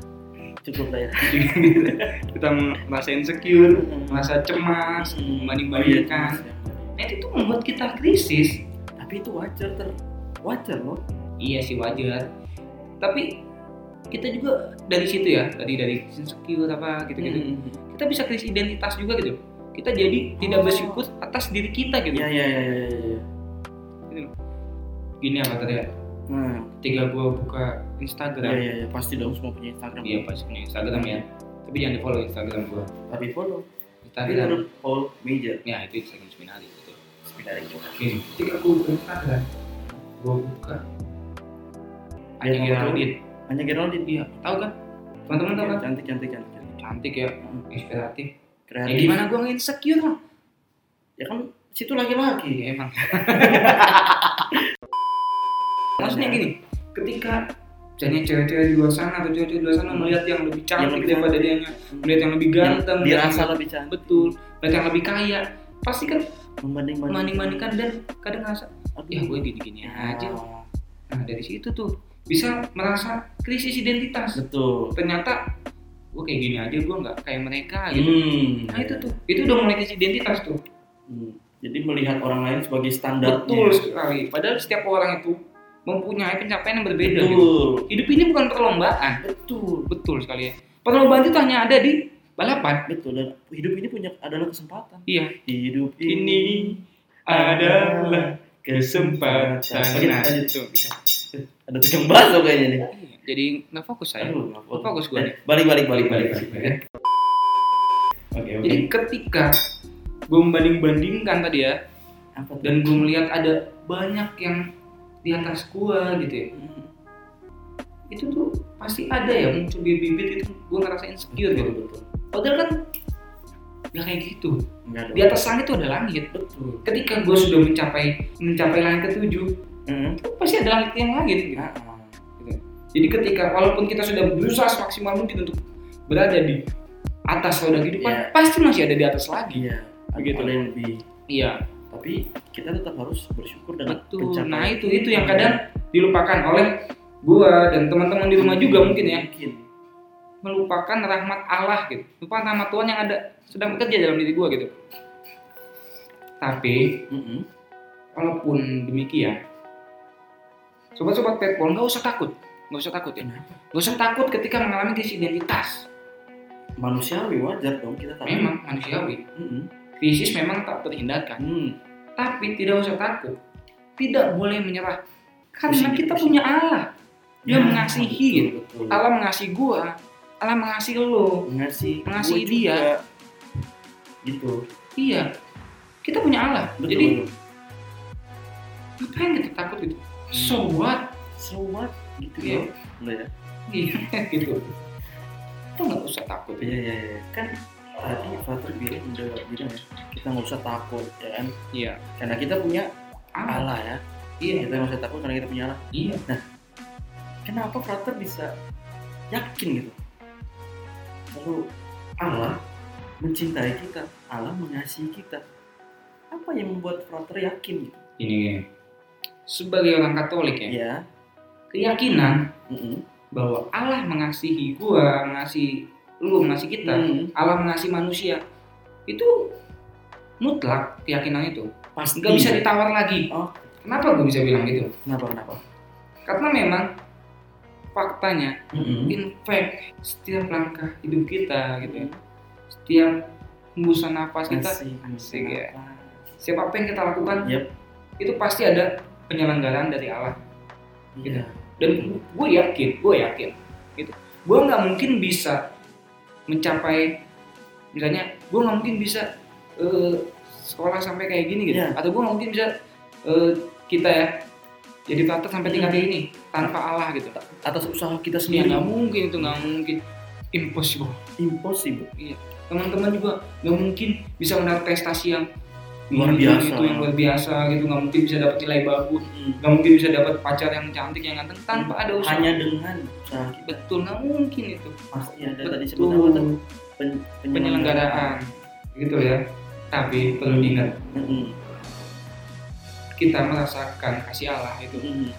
Speaker 2: cukup lah ya.
Speaker 3: <laughs> kita merasa insecure, merasa cemas, membanding-bandingkan. Nah, itu tuh membuat kita krisis.
Speaker 2: Iya, Tapi itu wajar ter wajar loh.
Speaker 3: Iya sih wajar. Tapi kita juga dari situ ya, tadi dari insecure apa gitu-gitu.
Speaker 2: Hmm.
Speaker 3: Kita bisa krisis identitas juga gitu. Kita jadi tidak
Speaker 2: Oh.
Speaker 3: bersyukur atas diri kita gitu.
Speaker 2: Iya iya iya iya. iya.
Speaker 3: Gini apa tadi ya?
Speaker 2: Hmm.
Speaker 3: Ketika gua buka
Speaker 2: Iya
Speaker 3: Instagram,
Speaker 2: iya iya pasti dong semua punya Instagram.
Speaker 3: iya pasti punya Instagram ya. Tapi jangan di follow Instagram gua.
Speaker 2: Tapi follow. Tapi
Speaker 3: Instagram,
Speaker 2: menurut Paul Major
Speaker 3: ya itu Instagram Spinali gitu.
Speaker 2: sebenarnya kita.
Speaker 3: Gini, ketika gua buka Instagram, gua buka. Iya,
Speaker 2: Dia
Speaker 3: Hanya
Speaker 2: mau-
Speaker 3: Geraldine.
Speaker 2: Hanya Geraldine.
Speaker 3: Iya, tahu kan? Teman-teman tahu kan?
Speaker 2: Cantik cantik cantik. cantik.
Speaker 3: Cantik ya, inspiratif. Ya
Speaker 2: Kreatif.
Speaker 3: gimana gua nggak insecure lah?
Speaker 2: Ya kan situ laki-laki.
Speaker 3: Iya emang. Maksudnya gini, ketika misalnya cewek-cewek di luar sana atau cewek-cewek di luar sana melihat yang Iya, lebih
Speaker 2: Yang
Speaker 3: cantik Iya.
Speaker 2: lebih
Speaker 3: daripada
Speaker 2: cantik.
Speaker 3: dianya, melihat yang lebih ganteng, melihat
Speaker 2: dirasa
Speaker 3: yang-
Speaker 2: Iya. lebih cantik.
Speaker 3: betul, melihat yang lebih kaya, pasti kan
Speaker 2: Membanding-bandingkan.
Speaker 3: maning-maningan dan kadang ngerasa,
Speaker 2: Aduh.
Speaker 3: ya gue gini-gini aja.
Speaker 2: Ah,
Speaker 3: Nah dari situ tuh bisa merasa krisis identitas.
Speaker 2: Betul.
Speaker 3: Ternyata gue kayak gini aja, gue nggak kayak mereka gitu.
Speaker 2: Hmm.
Speaker 3: Nah itu tuh, itu udah mulai krisis identitas tuh.
Speaker 2: Hmm. Jadi melihat orang lain sebagai standar.
Speaker 3: Betul sekali. Padahal setiap orang itu mempunyai pencapaian yang berbeda. Gitu.
Speaker 2: Betul.
Speaker 3: Hidup ini bukan perlombaan.
Speaker 2: Betul.
Speaker 3: Betul sekali ya. Perlombaan itu hanya ada di balapan.
Speaker 2: Betul. Dan hidup ini punya adalah kesempatan.
Speaker 3: Iya.
Speaker 2: Hidup
Speaker 3: Ini adalah kesempatan.
Speaker 2: Oke,
Speaker 3: Nah,
Speaker 2: lanjut.
Speaker 3: itu.
Speaker 2: Ada tukang bakso kayaknya nih.
Speaker 3: Jadi nggak fokus saya.
Speaker 2: Aduh, nggak fokus. Eh,
Speaker 3: Fokus gue.
Speaker 2: Balik balik balik balik.
Speaker 3: ya.
Speaker 2: Oke oke.
Speaker 3: Jadi ketika gue membanding-bandingkan tadi ya,
Speaker 2: Apa tuh?
Speaker 3: dan gue melihat ada banyak yang di atas gue gitu ya,
Speaker 2: Hmm.
Speaker 3: itu tuh pasti ada ya muncul bibit-bibit itu gue ngerasa insecure gitu.
Speaker 2: betul.
Speaker 3: Padahal kan nggak kayak gitu.
Speaker 2: Enggak
Speaker 3: Di atas langit itu ada langit.
Speaker 2: betul.
Speaker 3: Ketika gue sudah mencapai mencapai langit ketujuh,
Speaker 2: Heeh.
Speaker 3: itu pasti ada langit yang langit. Gitu.
Speaker 2: Ah,
Speaker 3: Jadi ketika walaupun kita sudah berusaha semaksimal mungkin untuk berada di atas roda kehidupan,
Speaker 2: Iya.
Speaker 3: pasti masih ada di atas lagi.
Speaker 2: Iya.
Speaker 3: Begitu.
Speaker 2: Begitu yang lebih.
Speaker 3: Iya,
Speaker 2: Tapi kita tetap harus bersyukur dengan
Speaker 3: betul.
Speaker 2: pencapaian.
Speaker 3: Nah itu itu yang kadang dilupakan oleh gua dan teman-teman di rumah juga mungkin ya
Speaker 2: Mungkin.
Speaker 3: melupakan rahmat Allah gitu lupakan rahmat Tuhan yang ada sedang bekerja dalam diri gua gitu tapi
Speaker 2: Mm-mm.
Speaker 3: Walaupun demikian, sobat-sobat petpol nggak usah takut, nggak usah takut ya, nggak usah takut ketika mengalami krisis identitas.
Speaker 2: Manusiawi wajar dong kita tahu.
Speaker 3: Memang manusiawi,
Speaker 2: Mm-mm.
Speaker 3: krisis memang tak terhindarkan,
Speaker 2: Hmm.
Speaker 3: tapi tidak usah takut, tidak boleh menyerah, karena
Speaker 2: Pusing,
Speaker 3: kita
Speaker 2: pusing.
Speaker 3: punya Allah, dia
Speaker 2: Ya,
Speaker 3: mengasihi. gitu.
Speaker 2: betul, betul.
Speaker 3: Allah mengasihi gua, Allah mengasihi lo,
Speaker 2: mengasihi
Speaker 3: mengasihi
Speaker 2: gua
Speaker 3: dia.
Speaker 2: juga. gitu
Speaker 3: iya, kita punya Allah,
Speaker 2: betul.
Speaker 3: jadi ngapain kita takut gitu?
Speaker 2: Hmm.
Speaker 3: So what?
Speaker 2: so what gitu
Speaker 3: Iya.
Speaker 2: ya Enggak ya
Speaker 3: Iya, <laughs> gitu. Kita nggak usah takut.
Speaker 2: iya iya iya. kan tadi Father bilang udah bilang ya kita nggak usah takut ya kan
Speaker 3: Iya,
Speaker 2: karena kita punya
Speaker 3: Allah,
Speaker 2: Allah ya
Speaker 3: iya,
Speaker 2: kita nggak usah takut karena kita punya Allah
Speaker 3: iya.
Speaker 2: kenapa Frater bisa yakin gitu lalu Allah mencintai kita Allah mengasihi kita apa yang membuat Frater yakin gitu
Speaker 3: Ini gini. Sebagai orang Katolik ya,
Speaker 2: ya
Speaker 3: keyakinan
Speaker 2: Iya. Mm-mm.
Speaker 3: bahwa Allah mengasihi gua, mengasihi lu, mengasihi kita,
Speaker 2: Mm.
Speaker 3: Allah mengasihi manusia. Itu mutlak keyakinan itu.
Speaker 2: pasti
Speaker 3: Nggak bisa ditawar lagi.
Speaker 2: Iya. Oh.
Speaker 3: Kenapa gua bisa bilang gitu?
Speaker 2: kenapa kenapa
Speaker 3: Karena memang faktanya,
Speaker 2: Mm-mm.
Speaker 3: in fact, setiap langkah hidup kita gitu ya, setiap hembusan nafas kita,
Speaker 2: Asik,
Speaker 3: asik ya.
Speaker 2: kenapa?
Speaker 3: siapa apa yang kita lakukan,
Speaker 2: Yep.
Speaker 3: itu pasti ada penyelenggaraan dari Allah.
Speaker 2: Iya.
Speaker 3: dan gue yakin gue yakin gitu gue nggak mungkin bisa mencapai misalnya gue nggak mungkin bisa eh, sekolah sampai kayak gini gitu
Speaker 2: Iya.
Speaker 3: atau gue nggak mungkin bisa eh, kita ya jadi tata sampai tingkat ini tanpa Allah gitu
Speaker 2: atas usaha kita
Speaker 3: ya
Speaker 2: sendiri
Speaker 3: nggak mungkin itu nggak mungkin impossible
Speaker 2: impossible
Speaker 3: teman-teman juga nggak mungkin bisa mendapat prestasi yang
Speaker 2: Luar
Speaker 3: ini,
Speaker 2: biasa.
Speaker 3: gitu, yang luar biasa gitu nggak mungkin bisa dapat nilai bagus nggak mungkin bisa dapat pacar yang cantik yang ganteng tanpa ada usaha
Speaker 2: hanya dengan usaha kita
Speaker 3: betul nggak mungkin itu
Speaker 2: pasti ada tadi
Speaker 3: Betul.
Speaker 2: sebut apa tuh Pen-
Speaker 3: penyelenggaraan gitu ya tapi
Speaker 2: Hmm.
Speaker 3: perlu diingat
Speaker 2: Mm-mm.
Speaker 3: kita merasakan kasih Allah itu
Speaker 2: Mm-mm.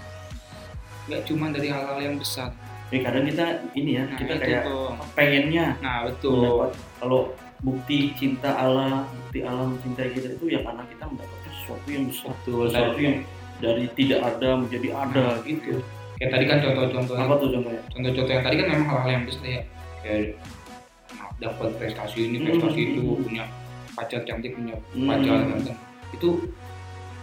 Speaker 3: nggak cuma dari hal-hal yang besar
Speaker 2: Jadi kadang kita ini ya,
Speaker 3: Nah,
Speaker 2: kita
Speaker 3: itu
Speaker 2: kayak
Speaker 3: tuh.
Speaker 2: pengennya
Speaker 3: Nah, betul.
Speaker 2: mendapat kalau bukti cinta Allah, bukti Allah mencintai kita itu ya karena kita mendapatkan sesuatu yang besar,
Speaker 3: Betul.
Speaker 2: sesuatu yang dari tidak ada menjadi ada
Speaker 3: Nah,
Speaker 2: gitu.
Speaker 3: gitu. Kayak tadi kan contoh-contohnya
Speaker 2: Apa tuh contohnya?
Speaker 3: contoh-contoh yang tadi kan memang hal-hal yang besar ya kayak dapat prestasi ini
Speaker 2: Hmm.
Speaker 3: prestasi itu punya pacar cantik punya
Speaker 2: Hmm.
Speaker 3: pacar ganteng itu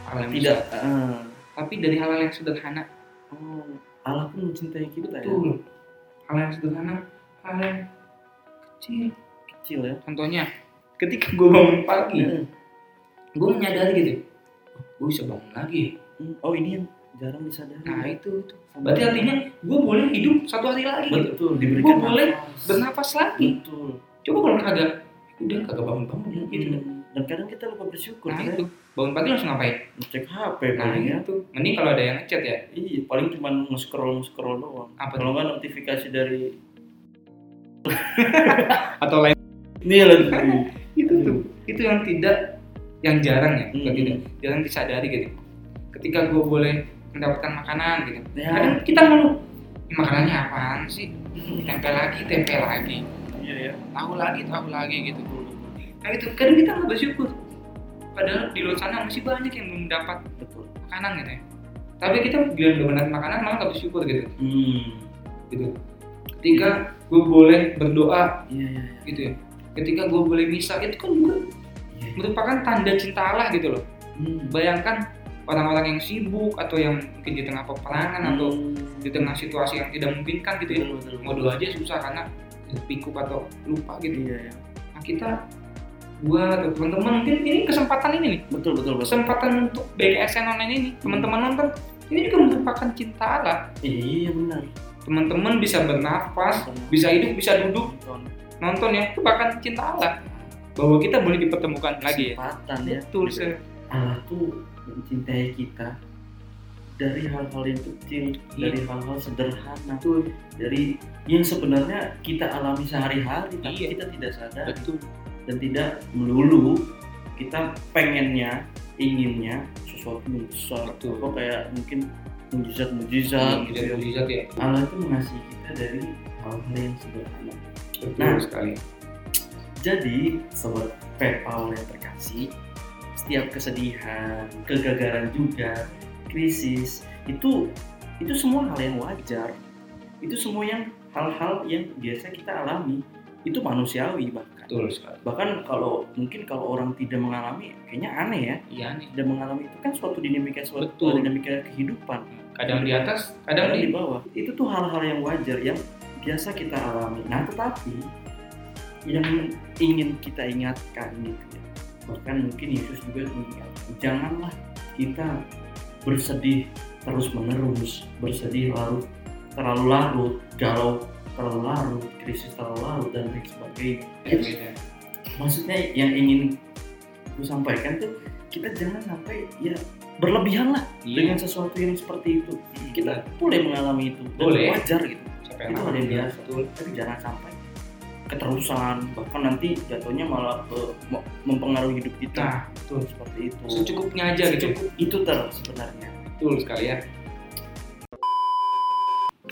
Speaker 3: hal yang
Speaker 2: Tidak.
Speaker 3: besar.
Speaker 2: eh,
Speaker 3: tapi dari hal-hal yang sederhana
Speaker 2: oh, Allah pun mencintai kita ya.
Speaker 3: tuh hal yang sederhana hal yang kecil
Speaker 2: Kecil ya.
Speaker 3: contohnya ketika gue bangun pagi
Speaker 2: Hmm.
Speaker 3: gue menyadari gitu gue bisa bangun lagi ya
Speaker 2: Hmm, Oh ini yang jarang disadari.
Speaker 3: nah itu tuh.
Speaker 2: Sampai-
Speaker 3: berarti artinya gue boleh hidup satu hari lagi gitu
Speaker 2: betul diberikan
Speaker 3: Gua boleh gitu.
Speaker 2: nafas.
Speaker 3: bernafas lagi
Speaker 2: betul.
Speaker 3: coba kalau kagak udah kagak bangun bangun gitu
Speaker 2: Hmm, Dan kadang kita lupa bersyukur
Speaker 3: Nah
Speaker 2: ya.
Speaker 3: itu bangun pagi langsung ngapain?
Speaker 2: Cek HP
Speaker 3: Nah
Speaker 2: paling ya.
Speaker 3: itu mending kalau ada yang ngechat ya.
Speaker 2: Iya, paling cuma nge-scroll nge-scroll doang.
Speaker 3: Apa
Speaker 2: Kalau nggak notifikasi dari
Speaker 3: Atau lain
Speaker 2: ini lagi.
Speaker 3: Hmm. itu tuh itu yang tidak yang jarang ya, bukan
Speaker 2: Hmm.
Speaker 3: tidak jarang disadari gitu. Ketika gue boleh mendapatkan makanan gitu,
Speaker 2: Ya.
Speaker 3: kadang kita ngeluh "Ini makanannya apaan sih?
Speaker 2: Hmm.
Speaker 3: Tempe lagi, tempe lagi,
Speaker 2: Iya ya.
Speaker 3: tahu lagi, tahu lagi gitu. Nah itu kadang kita nggak bersyukur. Padahal di luar sana masih banyak yang belum dapat
Speaker 2: Betul.
Speaker 3: makanan gitu ya. Tapi kita bilang belum dapat makanan malah nggak bersyukur gitu.
Speaker 2: Hmm.
Speaker 3: gitu ketika gue boleh berdoa
Speaker 2: Iya iya.
Speaker 3: gitu ya ketika gue boleh misa itu kan juga
Speaker 2: Iya.
Speaker 3: merupakan tanda cinta Allah gitu loh
Speaker 2: Hmm.
Speaker 3: bayangkan orang-orang yang sibuk atau yang mungkin di tengah
Speaker 2: Hmm.
Speaker 3: peperangan atau di tengah situasi yang tidak memungkinkan gitu ya
Speaker 2: betul betul.
Speaker 3: mau doa aja susah karena pikuk atau lupa gitu
Speaker 2: Iya ya.
Speaker 3: nah kita gua atau teman-teman mungkin ini kesempatan ini nih
Speaker 2: Betul betul betul.
Speaker 3: kesempatan untuk BKSN online ini teman-teman nonton ini juga merupakan cinta Allah
Speaker 2: Iya benar.
Speaker 3: teman-teman bisa bernafas Ah, bisa hidup bisa duduk nonton ya itu bahkan cinta Allah bahwa kita boleh dipertemukan lagi ya
Speaker 2: Kesempatan ya.
Speaker 3: betul
Speaker 2: Gitu.
Speaker 3: sih
Speaker 2: Allah tuh mencintai kita dari hal-hal yang kecil,
Speaker 3: Iya.
Speaker 2: dari hal-hal sederhana,
Speaker 3: betul
Speaker 2: dari yang sebenarnya kita alami sehari-hari, tapi
Speaker 3: Iya.
Speaker 2: kita tidak sadar
Speaker 3: betul
Speaker 2: dan tidak melulu kita pengennya, inginnya sesuatu yang besar,
Speaker 3: Betul.
Speaker 2: atau kayak mungkin mujizat-mujizat gitu ya.
Speaker 3: mujizat ya
Speaker 2: Allah itu mengasihi kita dari hal-hal yang sederhana.
Speaker 3: betul
Speaker 2: Nah.
Speaker 3: sekali
Speaker 2: Jadi, sobat PayPal yang terkasih, setiap kesedihan, kegagalan juga, krisis, itu itu semua hal yang wajar. Itu semua yang hal-hal yang biasa kita alami. Itu manusiawi bahkan.
Speaker 3: betul sekali
Speaker 2: Bahkan kalau mungkin kalau orang tidak mengalami, kayaknya aneh ya.
Speaker 3: iya nih
Speaker 2: Tidak mengalami itu kan suatu dinamika suatu
Speaker 3: Betul.
Speaker 2: dinamika kehidupan.
Speaker 3: kadang di atas kadang
Speaker 2: Kadang
Speaker 3: di
Speaker 2: di bawah. Itu tuh hal-hal yang wajar yang biasa kita alami. Nah, tetapi yang ingin kita ingatkan gitu ya. Bahkan mungkin Yesus juga mengingatkan, janganlah kita bersedih terus-menerus, bersedih larut terlalu larut, galau terlalu larut, krisis terlalu larut dan lain sebagainya.
Speaker 3: beda
Speaker 2: Maksudnya yang ingin gue sampaikan tuh kita jangan sampai ya berlebihan lah
Speaker 3: iya
Speaker 2: dengan sesuatu yang seperti itu
Speaker 3: kita
Speaker 2: kita boleh mengalami itu dan
Speaker 3: Boleh.
Speaker 2: wajar gitu
Speaker 3: siapa
Speaker 2: itu hal yang biasa tapi jangan sampai keterusan bahkan nanti jatuhnya malah eh, me- mempengaruhi hidup kita
Speaker 3: nah betul
Speaker 2: seperti itu
Speaker 3: secukupnya aja gitu
Speaker 2: Oh. Secukup itu ter sebenarnya
Speaker 3: betul sekali ya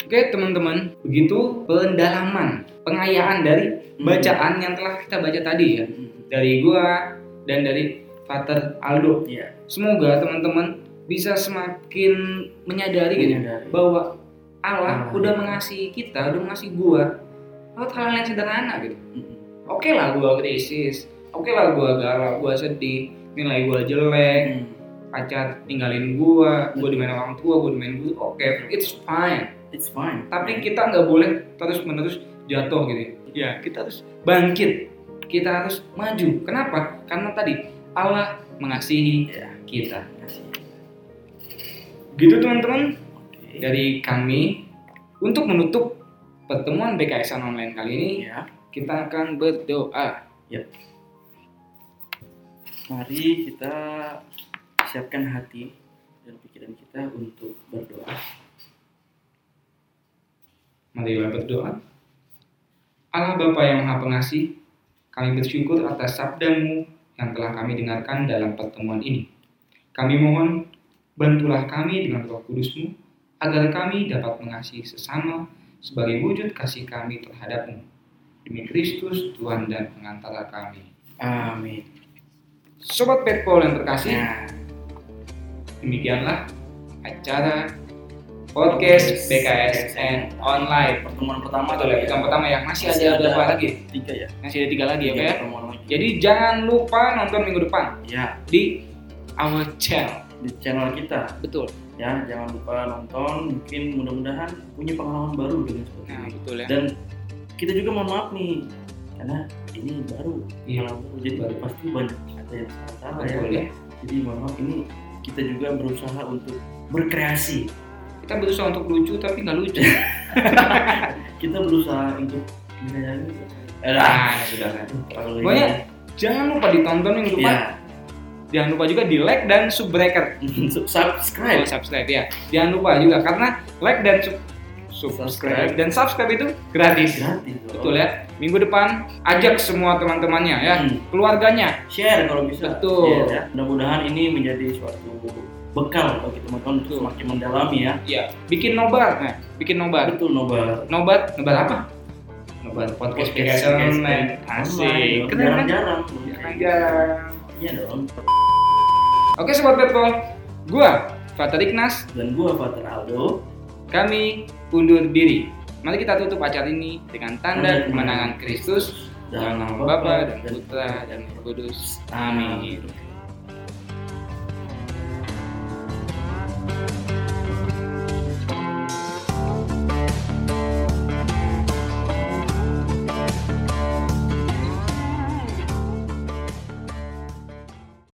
Speaker 3: Oke teman-teman, begitu pendalaman, pengayaan dari bacaan yang telah kita baca tadi ya.
Speaker 2: Hmm.
Speaker 3: dari gua dan dari Father Aldo.
Speaker 2: Iya.
Speaker 3: Semoga teman-teman bisa semakin menyadari gitu
Speaker 2: Menyadari.
Speaker 3: bahwa Allah
Speaker 2: Allah.
Speaker 3: udah mengasihi kita, udah mengasihi gua lewat hal yang sederhana gitu.
Speaker 2: Mm-mm.
Speaker 3: Oke lah gua krisis, oke lah gua galau, gua sedih, nilai gua jelek,
Speaker 2: Hmm.
Speaker 3: pacar tinggalin gua, gua dimain orang tua, gua dimain guru, oke, it's fine.
Speaker 2: it's fine
Speaker 3: Tapi kita nggak boleh terus menerus jatuh gitu. Ya, kita harus bangkit, kita harus maju. Kenapa? Karena tadi Allah mengasihi
Speaker 2: Iya.
Speaker 3: kita.
Speaker 2: Kasih.
Speaker 3: Gitu teman-teman
Speaker 2: Oke.
Speaker 3: dari kami untuk menutup pertemuan BKSN online kali ini
Speaker 2: Iya.
Speaker 3: kita akan berdoa.
Speaker 2: Mari kita siapkan hati dan pikiran kita untuk berdoa.
Speaker 3: Marilah berdoa. Allah Bapa yang Maha Pengasih, kami bersyukur atas sabdamu yang telah kami dengarkan dalam pertemuan ini. Kami mohon, bantulah kami dengan roh kudusmu, agar kami dapat mengasihi sesama sebagai wujud kasih kami terhadapmu. Demi Kristus, Tuhan dan pengantara kami.
Speaker 2: Amin.
Speaker 3: Sobat Petpol yang terkasih,
Speaker 2: Nah,
Speaker 3: demikianlah acara podcast
Speaker 2: Podcast
Speaker 3: BKSN online.
Speaker 2: pertemuan pertama
Speaker 3: Pertama
Speaker 2: atau
Speaker 3: atau lagi yang pertama ya, masih
Speaker 2: Masih
Speaker 3: ada
Speaker 2: ada.
Speaker 3: berapa lagi?
Speaker 2: Tiga ya.
Speaker 3: Masih ada tiga lagi ya,
Speaker 2: Tiga
Speaker 3: Pak ya.
Speaker 2: pertemuan lagi.
Speaker 3: Jadi jangan lupa nonton minggu depan
Speaker 2: ya
Speaker 3: di our channel.
Speaker 2: di channel kita
Speaker 3: Betul.
Speaker 2: ya jangan lupa nonton mungkin mudah-mudahan punya pengalaman baru dengan seperti
Speaker 3: Nah,
Speaker 2: ini
Speaker 3: betul ya.
Speaker 2: dan kita juga mohon maaf nih karena ini baru pengalaman baru jadi
Speaker 3: Baru.
Speaker 2: pasti banyak ada yang salah ya
Speaker 3: Iya. Betul ya.
Speaker 2: jadi mohon maaf ini kita juga berusaha untuk berkreasi
Speaker 3: Kita berusaha untuk lucu tapi nggak lucu.
Speaker 2: kita berusaha untuk menyayangi
Speaker 3: Nah, sudah kan.
Speaker 2: kalau
Speaker 3: Pokoknya jangan lupa ditonton minggu
Speaker 2: ini
Speaker 3: depan.
Speaker 2: ya
Speaker 3: Jangan lupa juga di like dan subscriber.
Speaker 2: <laughs> subscribe
Speaker 3: Oh, subscribe ya. Jangan lupa juga karena like dan sub- subscribe dan subscribe itu gratis.
Speaker 2: gratis loh.
Speaker 3: Betul ya. Minggu depan ajak semua teman-temannya ya,
Speaker 2: Hmm.
Speaker 3: keluarganya.
Speaker 2: share kalau bisa
Speaker 3: Betul.
Speaker 2: Share ya. mudah-mudahan ini menjadi suatu bekal bagi teman-teman untuk semakin mendalami ya
Speaker 3: Iya, bikin nobar. Nah, bikin nobar.
Speaker 2: betul nobar
Speaker 3: Nobat, nobat apa? Nobat podcast
Speaker 2: Podcast,
Speaker 3: Pearson
Speaker 2: podcast.
Speaker 3: man. Asik. Keren kan?
Speaker 2: jarang-jarang
Speaker 3: Jarang-jarang.
Speaker 2: iya dong
Speaker 3: Oke sobat Petpol, gua Fatar Ignas,
Speaker 2: dan gua Fater Aldo
Speaker 3: kami undur diri. Mari kita tutup acara ini dengan tanda kemenangan Kristus dalam nama Bapa dan Putra dan Roh Kudus. Amin.